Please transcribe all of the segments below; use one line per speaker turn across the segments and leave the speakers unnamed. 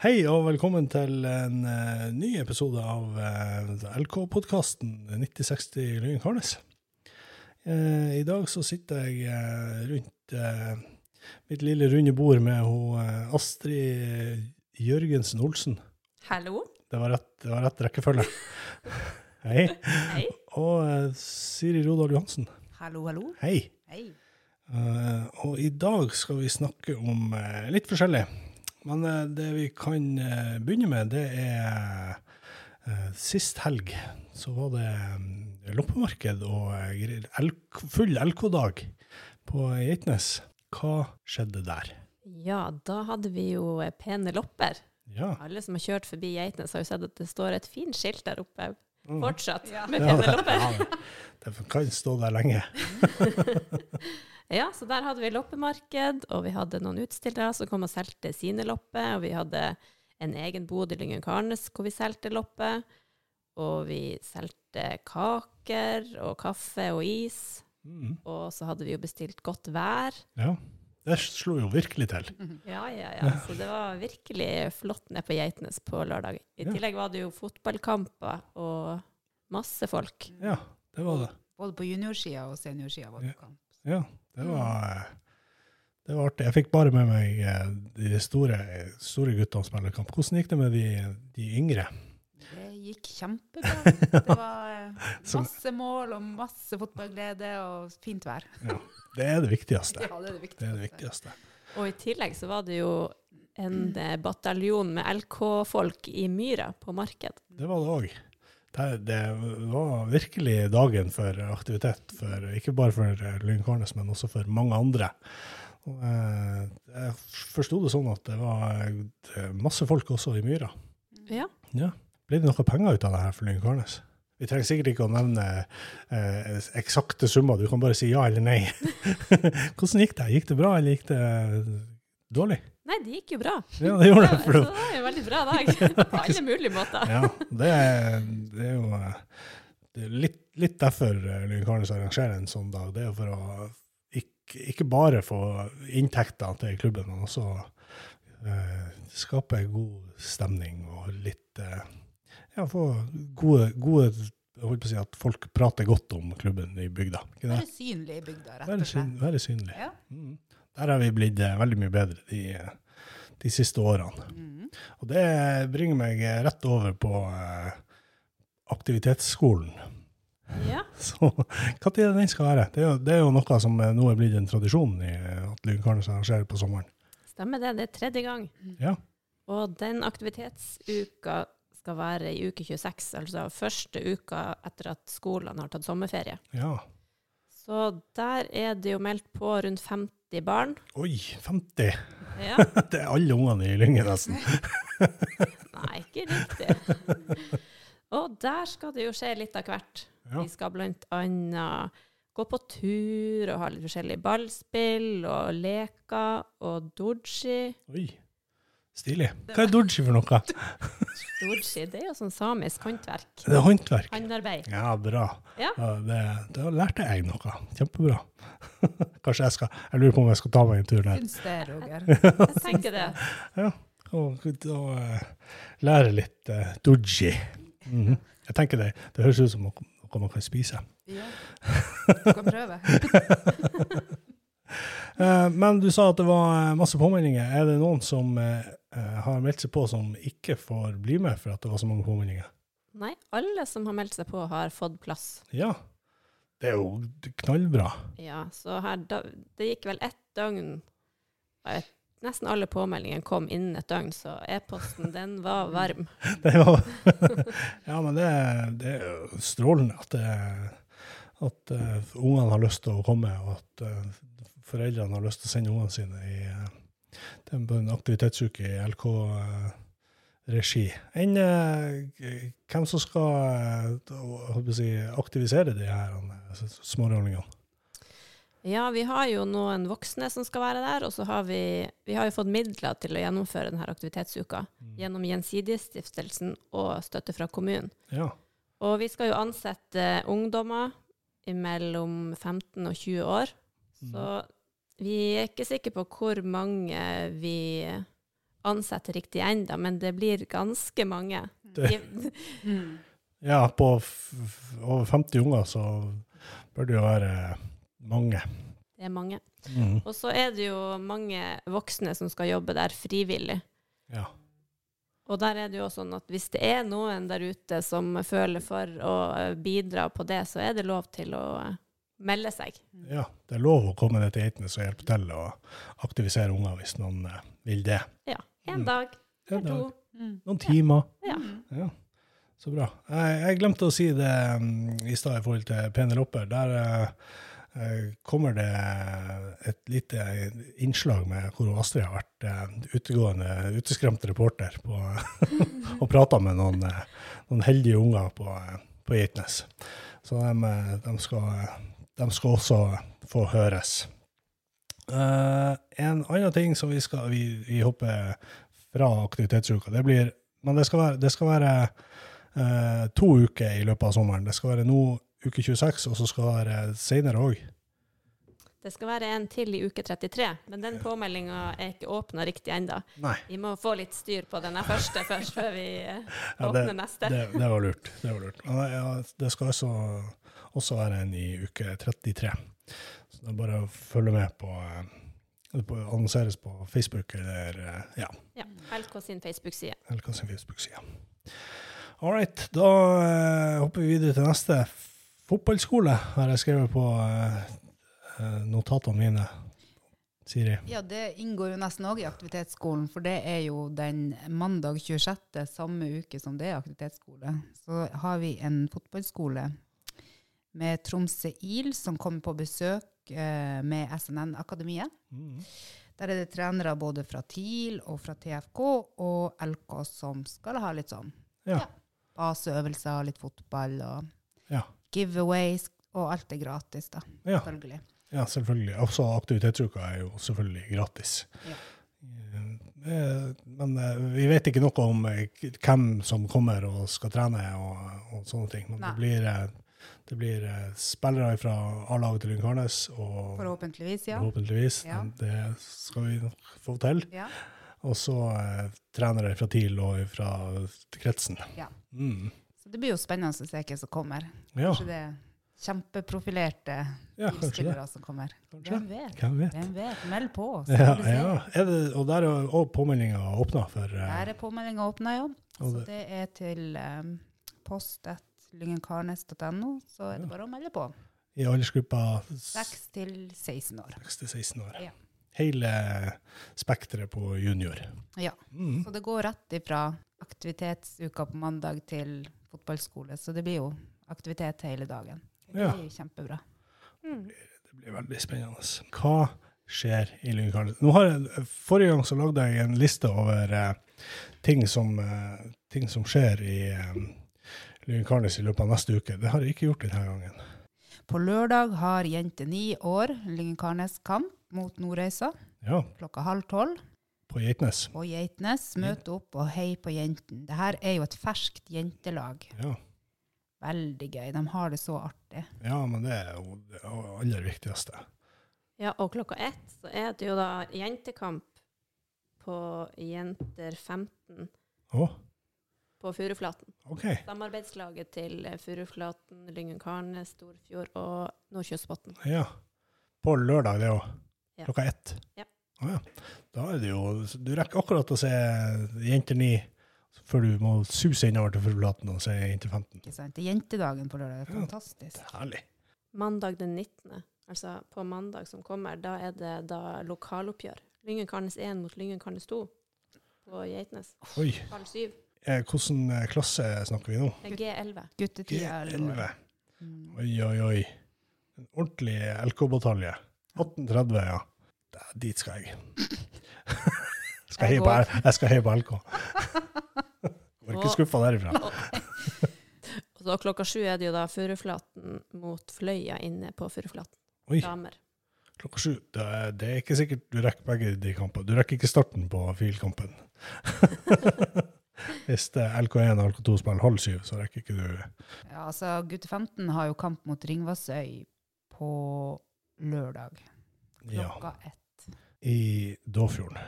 Hei og velkommen til en eh, ny episode av eh, LK-podkasten 9060 Lyng Harnes. Eh, I dag så sitter jeg eh, rundt eh, mitt lille runde bord med ho, eh, Astrid Jørgensen Olsen.
Hallo.
Det var rett, det var rett rekkefølge. Hei.
Hei.
Og eh, Siri Rodal Johansen.
Hallo, hallo.
Hei.
Hei.
Eh, og i dag skal vi snakke om eh, litt forskjellig. Men eh, det vi kan eh, begynne med, det er eh, Sist helg så var det eh, loppemarked og eh, grill- LK, full LK-dag på Geitnes. Hva skjedde der?
Ja, da hadde vi jo eh, pene lopper.
Ja.
Alle som har kjørt forbi Geitnes, har jo sett at det står et fint skilt der oppe fortsatt med
Ja,
pene lopper.
ja, det kan stå der lenge.
Ja, så der hadde vi loppemarked, og vi hadde noen utstillere som kom og solgte sine lopper, og vi hadde en egen bod i Lyngen-Karnes hvor vi solgte lopper, og vi solgte kaker og kaffe og is,
Mm,
og så hadde vi jo bestilt godt vær.
ja. Det slo jo virkelig til.
Ja, ja, ja. Så det var virkelig flott nede på Geitnes på lørdag. I
Ja.
tillegg var det jo fotballkamper og masse folk.
Ja, det var det.
Både på juniorsida og seniorsida var det kamp.
Ja, det var, eh, det var artig. Jeg fikk bare med meg eh, de store, store guttene som spiller kamp. Hvordan gikk det med de, de yngre?
Det gikk kjempebra. Det var eh,
Som-
masse mål og masse fotballglede og fint vær.
Det er det viktigste.
Ja, det er det
Det er det
viktigste.
viktigste.
Og i tillegg så var det jo en eh, bataljon med LK-folk i Myra på marked.
Det var det òg. Det, det var virkelig dagen for aktivitet, for, ikke bare for eh, Lyngkarnes, men også for mange andre. Og, eh, jeg forsto det sånn at det var eh, masse folk også i Myra.
Ja.
Blir det noe penger ut av det her for Lyngkarnes? Vi trenger sikkert ikke å nevne eh, eksakte summer, du kan bare si ja eller nei. Hvordan gikk det? Gikk det bra, eller gikk det eh, dårlig?
Nei, det gikk jo bra.
Ja, det gjorde det.
Så
For
det
det,
var jo en veldig bra dag på alle mulige måter.
ja, det, er, det er jo eh, det er litt, litt derfor eh, Lyngkarnes arrangerer en sånn dag. Det er jo for å ikke, ikke bare få inntekter til klubben, men også eh, skape god stemning og litt eh, Ja, få gode, gode Jeg holdt på å si at folk prater godt om klubben i bygda. Ikke det?
Være synlig i bygda, rett
Være,
og
syn,
slett.
være synlig.
Ja.
Mm. Der har vi blitt eh, veldig mye bedre de, eh, de siste årene.
Mm.
Og det bringer meg rett over på eh, aktivitetsskolen.
Ja.
Så når er det den skal være? Det er, jo, det er jo noe som eh, nå er blitt en tradisjon i eh, at Lyngkarnes arrangerer på sommeren.
Stemmer det. Det er tredje gang.
Ja.
Og den aktivitetsuka skal være i uke 26, altså første uka etter at skolen har tatt sommerferie.
Ja.
Så der er det jo meldt på rundt 50 barn.
Oi, 50!
Ja,
Det er alle ungene i Lyngen, nesten.
Nei, ikke riktig. Og der skal det jo skje litt av hvert.
Ja.
Vi skal blant annet gå på tur og ha litt forskjellig ballspill og leker og doji.
Oi. Stilig. Hva er doji for noe?
Doji, det er jo sånn samisk håndverk.
Det er håndverk.
Handarbeid.
Ja, bra.
Ja.
det, da lærte jeg noe. Kjempebra. Kanskje jeg skal Jeg lurer på om jeg skal ta meg en tur der.
Syns det, Roger.
Jeg tenker det.
og, og eh, lære litt uh, doji. Mhm. Jeg tenker det, det høres ut som noe noe man kan spise.
Ja. Du kan prøve.
Eh, men du sa at det var eh, masse påmeldinger. Er det noen som eh, eh, har meldt seg på som ikke får bli med for at det var så mange påmeldinger?
Nei, alle som har meldt seg på, har fått plass.
Ja. Det er jo knallbra.
Ja, så her, da, det gikk vel ett døgn. Jeg vet, Nesten alle påmeldingene kom innen et døgn, så e-posten den var varm.
Det var, ja, men det, det er jo strålende at, det- at eh, ungene har lyst til å komme, og at eh, foreldrene har lyst til å sende ungene sine i, eh, til en- på en aktivitetsuke i LK-regi. Enn eh, g- hvem som skal eh, da- jeg holdt på å si, aktivisere de her eh, s- smårollingene?
Ja, vi har jo noen voksne som skal være der, og så har vi, vi har jo fått midler til å gjennomføre denne aktivitetsuka gjennom Gjensidigestiftelsen og støtte fra kommunen.
Ja.
Og vi skal jo ansette eh, ungdommer mellom 15 og 20 år, så vi er ikke sikre på hvor mange vi ansette riktig ennå, men det blir ganske mange.
Det-
Mm.
Ja, på f f over 50 unger så bør det jo være mange.
Det er mange.
Mm.
Og så er det jo mange voksne som skal jobbe der frivillig.
Ja.
Og der er det jo også sånn at hvis det er noen der ute som føler for å eh, bidra på det, så er det lov til å eh, melde seg.
ja. Det er lov å komme ned til geitene og hjelpe til å aktivisere unger hvis noen eh, vil det.
Ja.
Mm.
En dag,
En
eller to.
dag.
Mm.
Noen timer.
Ja.
Mm.
Ja, så bra. Jeg, jeg glemte å si det mm, i stad i forhold til Penelope. Der eh, eh, kommer det et lite innslag med hvor Astrid har vært eh, utegående, uteskremt reporter på, og prata med noen, eh, noen heldige unger på, eh, på Geitnes. Så de, eh, de, skal, de skal også få høres. Eh, en annen ting som vi skal Vi, vi hopper fra aktivitetsuka. Det blir men det skal være, det skal være eh, to uker i løpet av sommeren. Det skal være nå uke 26, og så skal det være senere òg.
Det skal være en til i uke 33, men den påmeldinga er ikke åpna riktig ennå.
Nei.
Vi må få litt styr på denne første først, før vi eh,
Ja,
åpner
det,
neste.
det, det var lurt. Det var lurt. Men ja, det skal også, også være en i uke 33. Så det er bare å følge med på eh, Det på- annonseres på Facebook eller eh, ja,
Ja. LK sin Facebook-side.
eller hva sin Facebook-side. All right, da eh, hopper vi videre til neste. Fotballskole har jeg skrevet på eh, eh, notatene mine. Siri.
Ja, det inngår jo nesten òg i aktivitetsskolen, for det er jo den mandag 26. samme uke som det er aktivitetsskole. Så har vi en fotballskole med Tromsø IL som kommer på besøk eh, med SNN-akademiet. Der er det trenere både fra TIL og fra TFK og LK som skal ha litt sånn
Ja.
baseøvelser, litt fotball og
Ja.
giveaways, og alt er gratis, da.
Ja.
Selvfølgelig.
ja, selvfølgelig. Også aktivitetsuka er jo selvfølgelig gratis.
Ja.
Eh, Men eh, vi vet ikke noe om eh, hvem som kommer og skal trene og, og sånne ting. Men det
Nei.
blir, eh, det blir eh, spillere fra A-laget til Lyngarnes, og
Forhåpentligvis, ja.
forhåpentligvis,
Ja.
det skal vi nok få til.
ja.
Og så eh, trenere fra TIL og fra kretsen.
Ja.
Mm.
Så det blir jo spennende å se hva som kommer.
Ja,
Kanskje det er kjempeprofilerte
ja, kanskje det.
spillere som kommer.
Kanskje.
Hvem vet?
Hvem vet?
Hvem vet? Meld på. så
Ja,
får vi se.
ja. Er det, og der er òg påmeldinga åpna for eh,
Der er påmeldinga åpna, ja.
Og
Så
det-
det er til um, post.lyngenkarnes.no, så er
Ja.
det bare å melde på.
i aldersgruppa
6 til 16 år.
6-16 år.
Ja.
Hele spekteret på junior.
Ja.
Mm.
Så det går rett ifra aktivitetsuka på mandag til fotballskole, så det blir jo aktivitet hele dagen. Det
Ja.
blir jo kjempebra.
Det blir veldig spennende. Hva skjer i Lyngkarnes? Nå har jeg, forrige gang så lagde jeg en liste over eh, ting, som, eh, ting som skjer i eh, Lyngkarnes i løpet av neste uke. Det har jeg ikke gjort denne gangen.
På lørdag har jente ni år Lyngenkarnes kamp mot Nordreisa
Ja,
klokka halv tolv.
på Geitnes.
på Geitnes. Møt opp og hei på jentene. Det her er jo et ferskt jentelag.
Ja.
Veldig gøy. De har det så artig.
ja, men det er jo det aller viktigste.
Ja, og klokka ett så er det jo da jentekamp på Jenter 15
Å,
på Furuflaten.
OK.
Samarbeidslaget til eh, Furuflaten, Lyngen-Karne, Storfjord og Nordkjosbotn.
Ja. På lørdag, det òg.
Ja.
Klokka ett.
Ja.
Å ja. Da er det jo Du rekker akkurat å se Jenter 9 før du må suse innover til Furulaten og se Jenter 15.
Ikke sant? Det er jentedagen på lørdag. Det er
Ja.
fantastisk.
Herlig.
Mandag den 19., altså på mandag som kommer, da er det da lokaloppgjør. Lyngen-Karnes 1 mot Lyngen-Karnes 2 på Geitnes.
Oi.
Halv syv.
Eh, hvordan eh, klasse snakker vi nå?
Det er G11.
Guttetida er
G11.
Mm.
Oi, oi, oi. En ordentlig LK-batalje. 1830, ja. Da, dit skal jeg. skal jeg,
Jeg
heie på,
går.
L- jeg skal heie på LK. Går ikke
Og-
skuffa derifra.
Og så klokka sju er det jo da Furuflaten mot Fløya inne på Furuflaten.
Oi.
Damer.
Klokka sju. Det er, det er ikke sikkert du rekker begge de kampene. Du rekker ikke starten på filkampen. Hvis det er LK1 og LK2 spiller halv syv, så rekker ikke du
Ja, altså, Gutte 15 har jo kamp mot Ringvassøy på lørdag
ja,
klokka ett.
i Dåfjorden.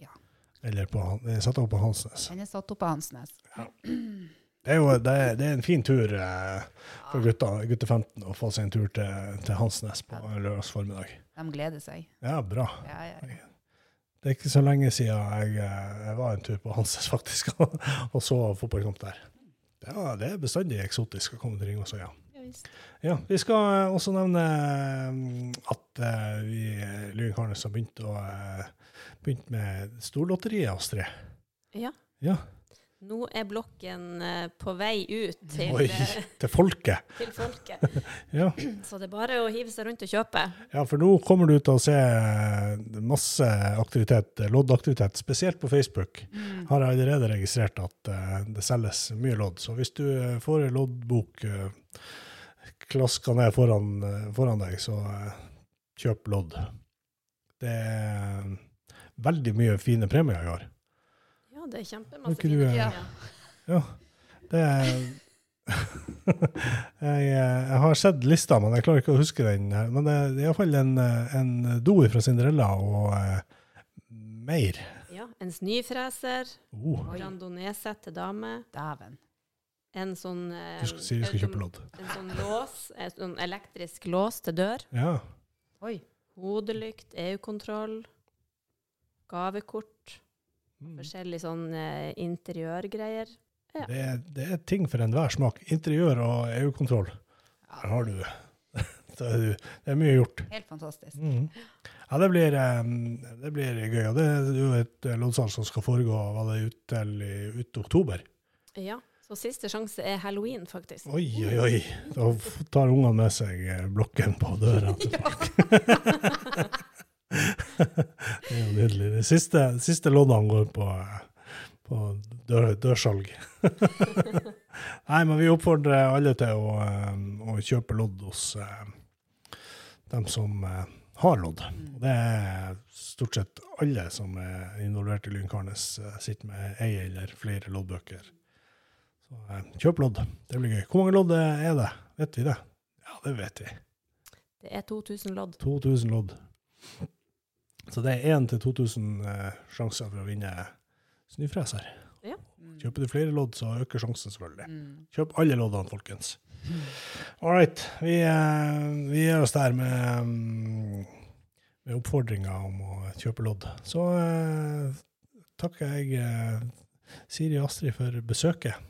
Ja.
Eller på, Han- jeg satt opp på Hansnes.
Den er satt opp av Hansnes.
Det er jo det er, det er en fin tur eh, for gutta, gutter 15 å få seg en tur til, til Hansnes på lørdags formiddag.
De gleder seg.
Ja, bra.
Ja, ja. ja.
Det er ikke så lenge siden jeg, eh, jeg var en tur på Hansnes, faktisk, og, og så fotballkamp der. Ja, det er bestandig eksotisk å komme til Ringås, ja.
Ja, visst.
Ja, Vi skal eh, også nevne mm, at eh, vi eh, Lygen Karnes har begynt, å, eh, begynt med storlotteriet, Astrid.
Ja.
Ja.
Nå er blokken eh, på vei ut til,
Oi,
eh,
til folket.
til folket,
Ja.
så det er bare å hive seg rundt og kjøpe.
ja, for nå kommer du til å se eh, masse aktivitet, eh, loddaktivitet, spesielt på Facebook.
Mm.
Har jeg allerede registrert at eh, det selges mye lodd. Så hvis du eh, får en loddbok eh, klaska ned foran, eh, foran deg, så eh, kjøp lodd. Det er veldig mye fine premier i år.
Ja, det er
Kan
kjempemasse
ikke du,
fine
eh,
ja.
Ja, det er jeg, eh, jeg har sett lista, men jeg klarer ikke å huske den. her. Men det er iallfall en, eh, en do fra Cinderella og eh, mer.
ja. En snyfreser,
Oh,
Oi,
randonese til dame,
dæven.
en sånn eh,
du skal, sier du skal
autom-
kjøpe lodd.
En sånn lås, en sånn elektrisk lås til dør.
Ja.
Oi.
Hodelykt, EU-kontroll, gavekort,
Mm.
forskjellige sånn eh, interiørgreier.
Det er, det er ting for enhver smak. Interiør og EU-kontroll. Der har du det. Det er, du- det er mye gjort.
Helt fantastisk.
Mhm. Ja, det blir, eh, det blir gøy. Og det er jo et eh, loddsalg som skal foregå var det ut til i- ut oktober.
Ja, så siste sjanse er halloween, faktisk.
Oi, oi, oi. Da f- tar ungene med seg eh, blokken på døra. til folk. det er jo nydelig. De siste, siste loddene går på, eh, på dør, dørsalg. Nei, men vi oppfordrer alle til å, eh, å kjøpe lodd hos eh, dem som eh, har lodd. Og det er stort sett alle som er involvert i Lynkarnes, eh, sitter med ei eller flere loddbøker. Så eh, kjøp lodd. Det blir gøy. Hvor mange lodd eh, er det? Vet vi det? Ja, det vet vi.
Det er 2000 lodd.
2000 lodd. Så det er 1 til 2000 eh, sjanser for å vinne snøfreser.
Mm.
Kjøper du flere lodd, så øker sjansen selvfølgelig.
Mm.
Kjøp alle loddene, folkens. All right. Vi, eh, vi gjør oss der med, mm, med oppfordringa om å kjøpe lodd. Så eh, takker jeg eh, Siri og Astrid for besøket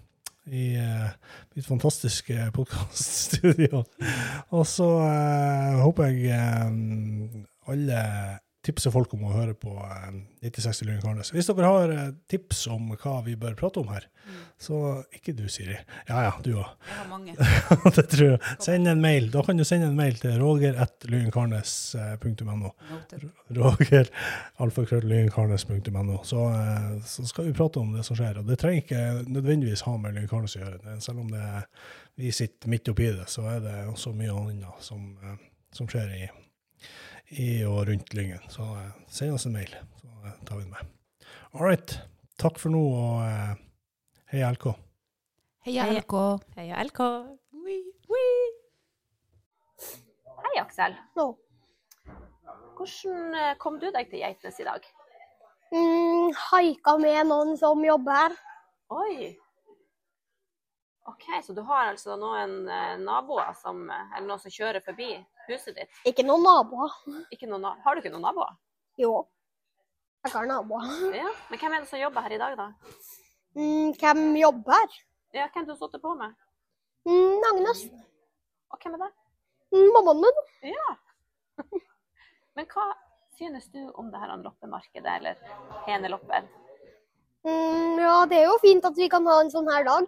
i eh, mitt fantastiske podkaststudio. Og så eh, håper jeg eh, alle tipser folk om å høre på eh, 9060 Lyng Karnes. Hvis dere har eh, tips om hva vi bør prate om her, så ikke du, Siri. Ja ja, du òg.
Jeg har mange.
det tror jeg. Send en mail. Da kan du sende en mail til roger.lynkarnes.no.
Noted.
Roger alfakrøllynkarnes.no. Så, eh, så skal vi prate om det som skjer. Og det trenger ikke nødvendigvis ha med Lynkarnes å gjøre. Det- Selv om det, vi sitter midt oppi det, så er det også mye annet som, eh, som skjer i, i og rundt Lyngen. Så eh, send oss en mail, så eh, tar vi det med. All right. Takk for nå, og eh, hei LK.
Heia
Heia.
LK.
Heia LK! Hei, Aksel. Hvordan eh, kom du deg til Geitnes i dag?
Mm, haika med noen som jobber her.
Oi! OK, så du har altså noen eh, naboer som eh, Eller noen som kjører forbi huset ditt?
Ikke noen naboer.
Ikke noen, na- har du ikke noen naboer?
Jo, jeg har naboer.
Ja, Men hvem er det som jobber her i dag, da?
Mm, hvem jobber?
Ja, hvem du har sittet på med?
Mm, Agnes.
Og hvem er det?
Mm, mammaen min.
Ja. Men hva synes du om det her loppemarkedet, eller henelopper?
Mm, ja, det er jo fint at vi kan ha en sånn her dag.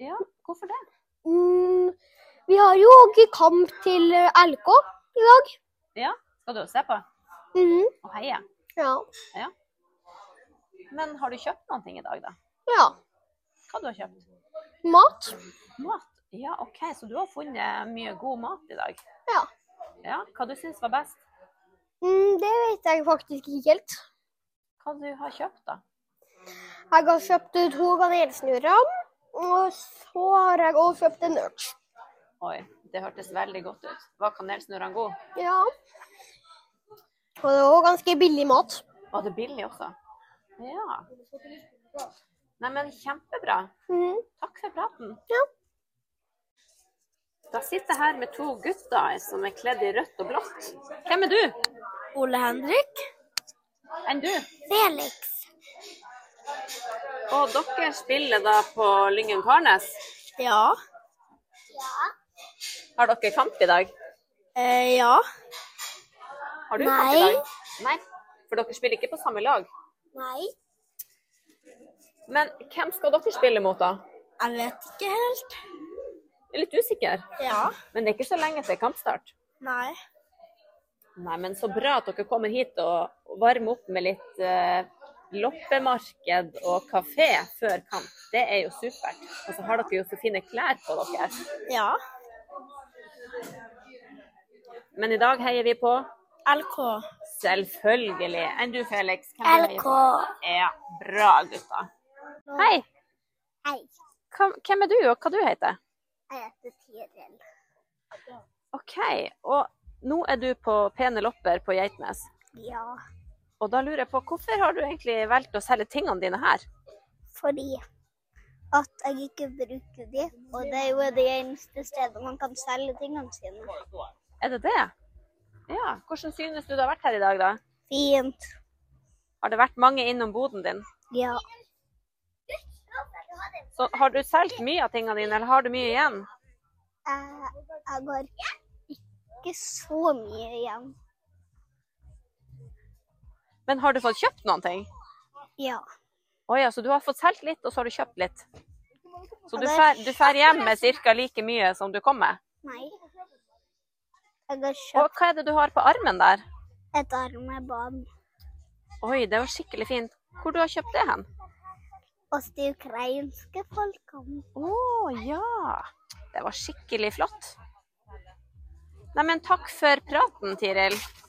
Ja, hvorfor det?
Mm, vi har jo også kamp til eh, LK i dag.
Skal du se på
Mm,
og heie?
ja.
Men har du kjøpt noen ting i dag, da?
ja.
Hva du har kjøpt?
Mat.
Mat? Ja, OK, så du har funnet mye god mat i dag?
Ja.
Ja, Hva du syns var best?
Mm, det vet jeg faktisk ikke helt.
Hva du har kjøpt, da?
Jeg har kjøpt eh, to kanelsnurrer, og så har jeg også kjøpt en ört.
Oi, det hørtes veldig godt ut. Var kanelsnurrene gode?
Ja. Og det var ganske billig mat.
Var det billig også?
Ja. Neimen, kjempebra.
Mhm.
Takk for praten. Da sitter jeg her med to gutter som er kledd i rødt og blått. Hvem er du?
Ole Henrik.
Enn du?
Felix.
Og dere spiller da på Lyngen Karnes.
Ja.
Har dere kamp i dag?
Eh, ja.
Har du kamp i
Nei.
dag? Nei. For dere spiller ikke på samme lag.
Nei.
Men hvem skal dere spille mot, da?
Jeg vet ikke helt.
Jeg er litt usikker.
Ja.
Men det er ikke så lenge til kampstart.
Nei.
Nei, men så bra at dere kommer hit og og varmer opp med litt eh, loppemarked og kafé før kamp. Det er jo supert. Og så har dere jo så fine klær på dere.
Ja.
Men i dag heier vi på
LK.
Selvfølgelig. Enn du, Felix? Hvem heier
LK.
på? Ja, bra, gutta. Hei.
Hei.
Hva- Hvem er du, og hva du heter
Jeg heter Tiril.
OK. Og nå er du på Pene Lopper på Geitnes.
Ja.
Og da lurer jeg på, hvorfor har du egentlig valgt å selge tingene dine her?
Fordi at jeg ikke bruker de, og det er jo det eneste stedet man kan selge tingene sine.
Er det det? Ja. Hvordan synes du det har vært her i dag, da?
Fint.
Har det vært mange innom boden din?
Ja.
Så har du solgt mye av tingene dine, eller har du mye igjen?
Jeg, jeg har ikke så mye igjen.
Men har du fått kjøpt noen ting?
Ja.
Å ja, så du har fått solgt litt, og så har du kjøpt litt. Så du
Ja, det-
fer, du fer hjem med ca. like mye som du kom med.
Nei. Jeg har
Og
kjøpt
hva er det du har på armen der?
et armebånd
Oi, det er jo skikkelig fint. Hvor du har kjøpt det hen?
hos de ukrainske folkene.
Å ja. Det var skikkelig flott. Neimen, takk for praten, Tiril.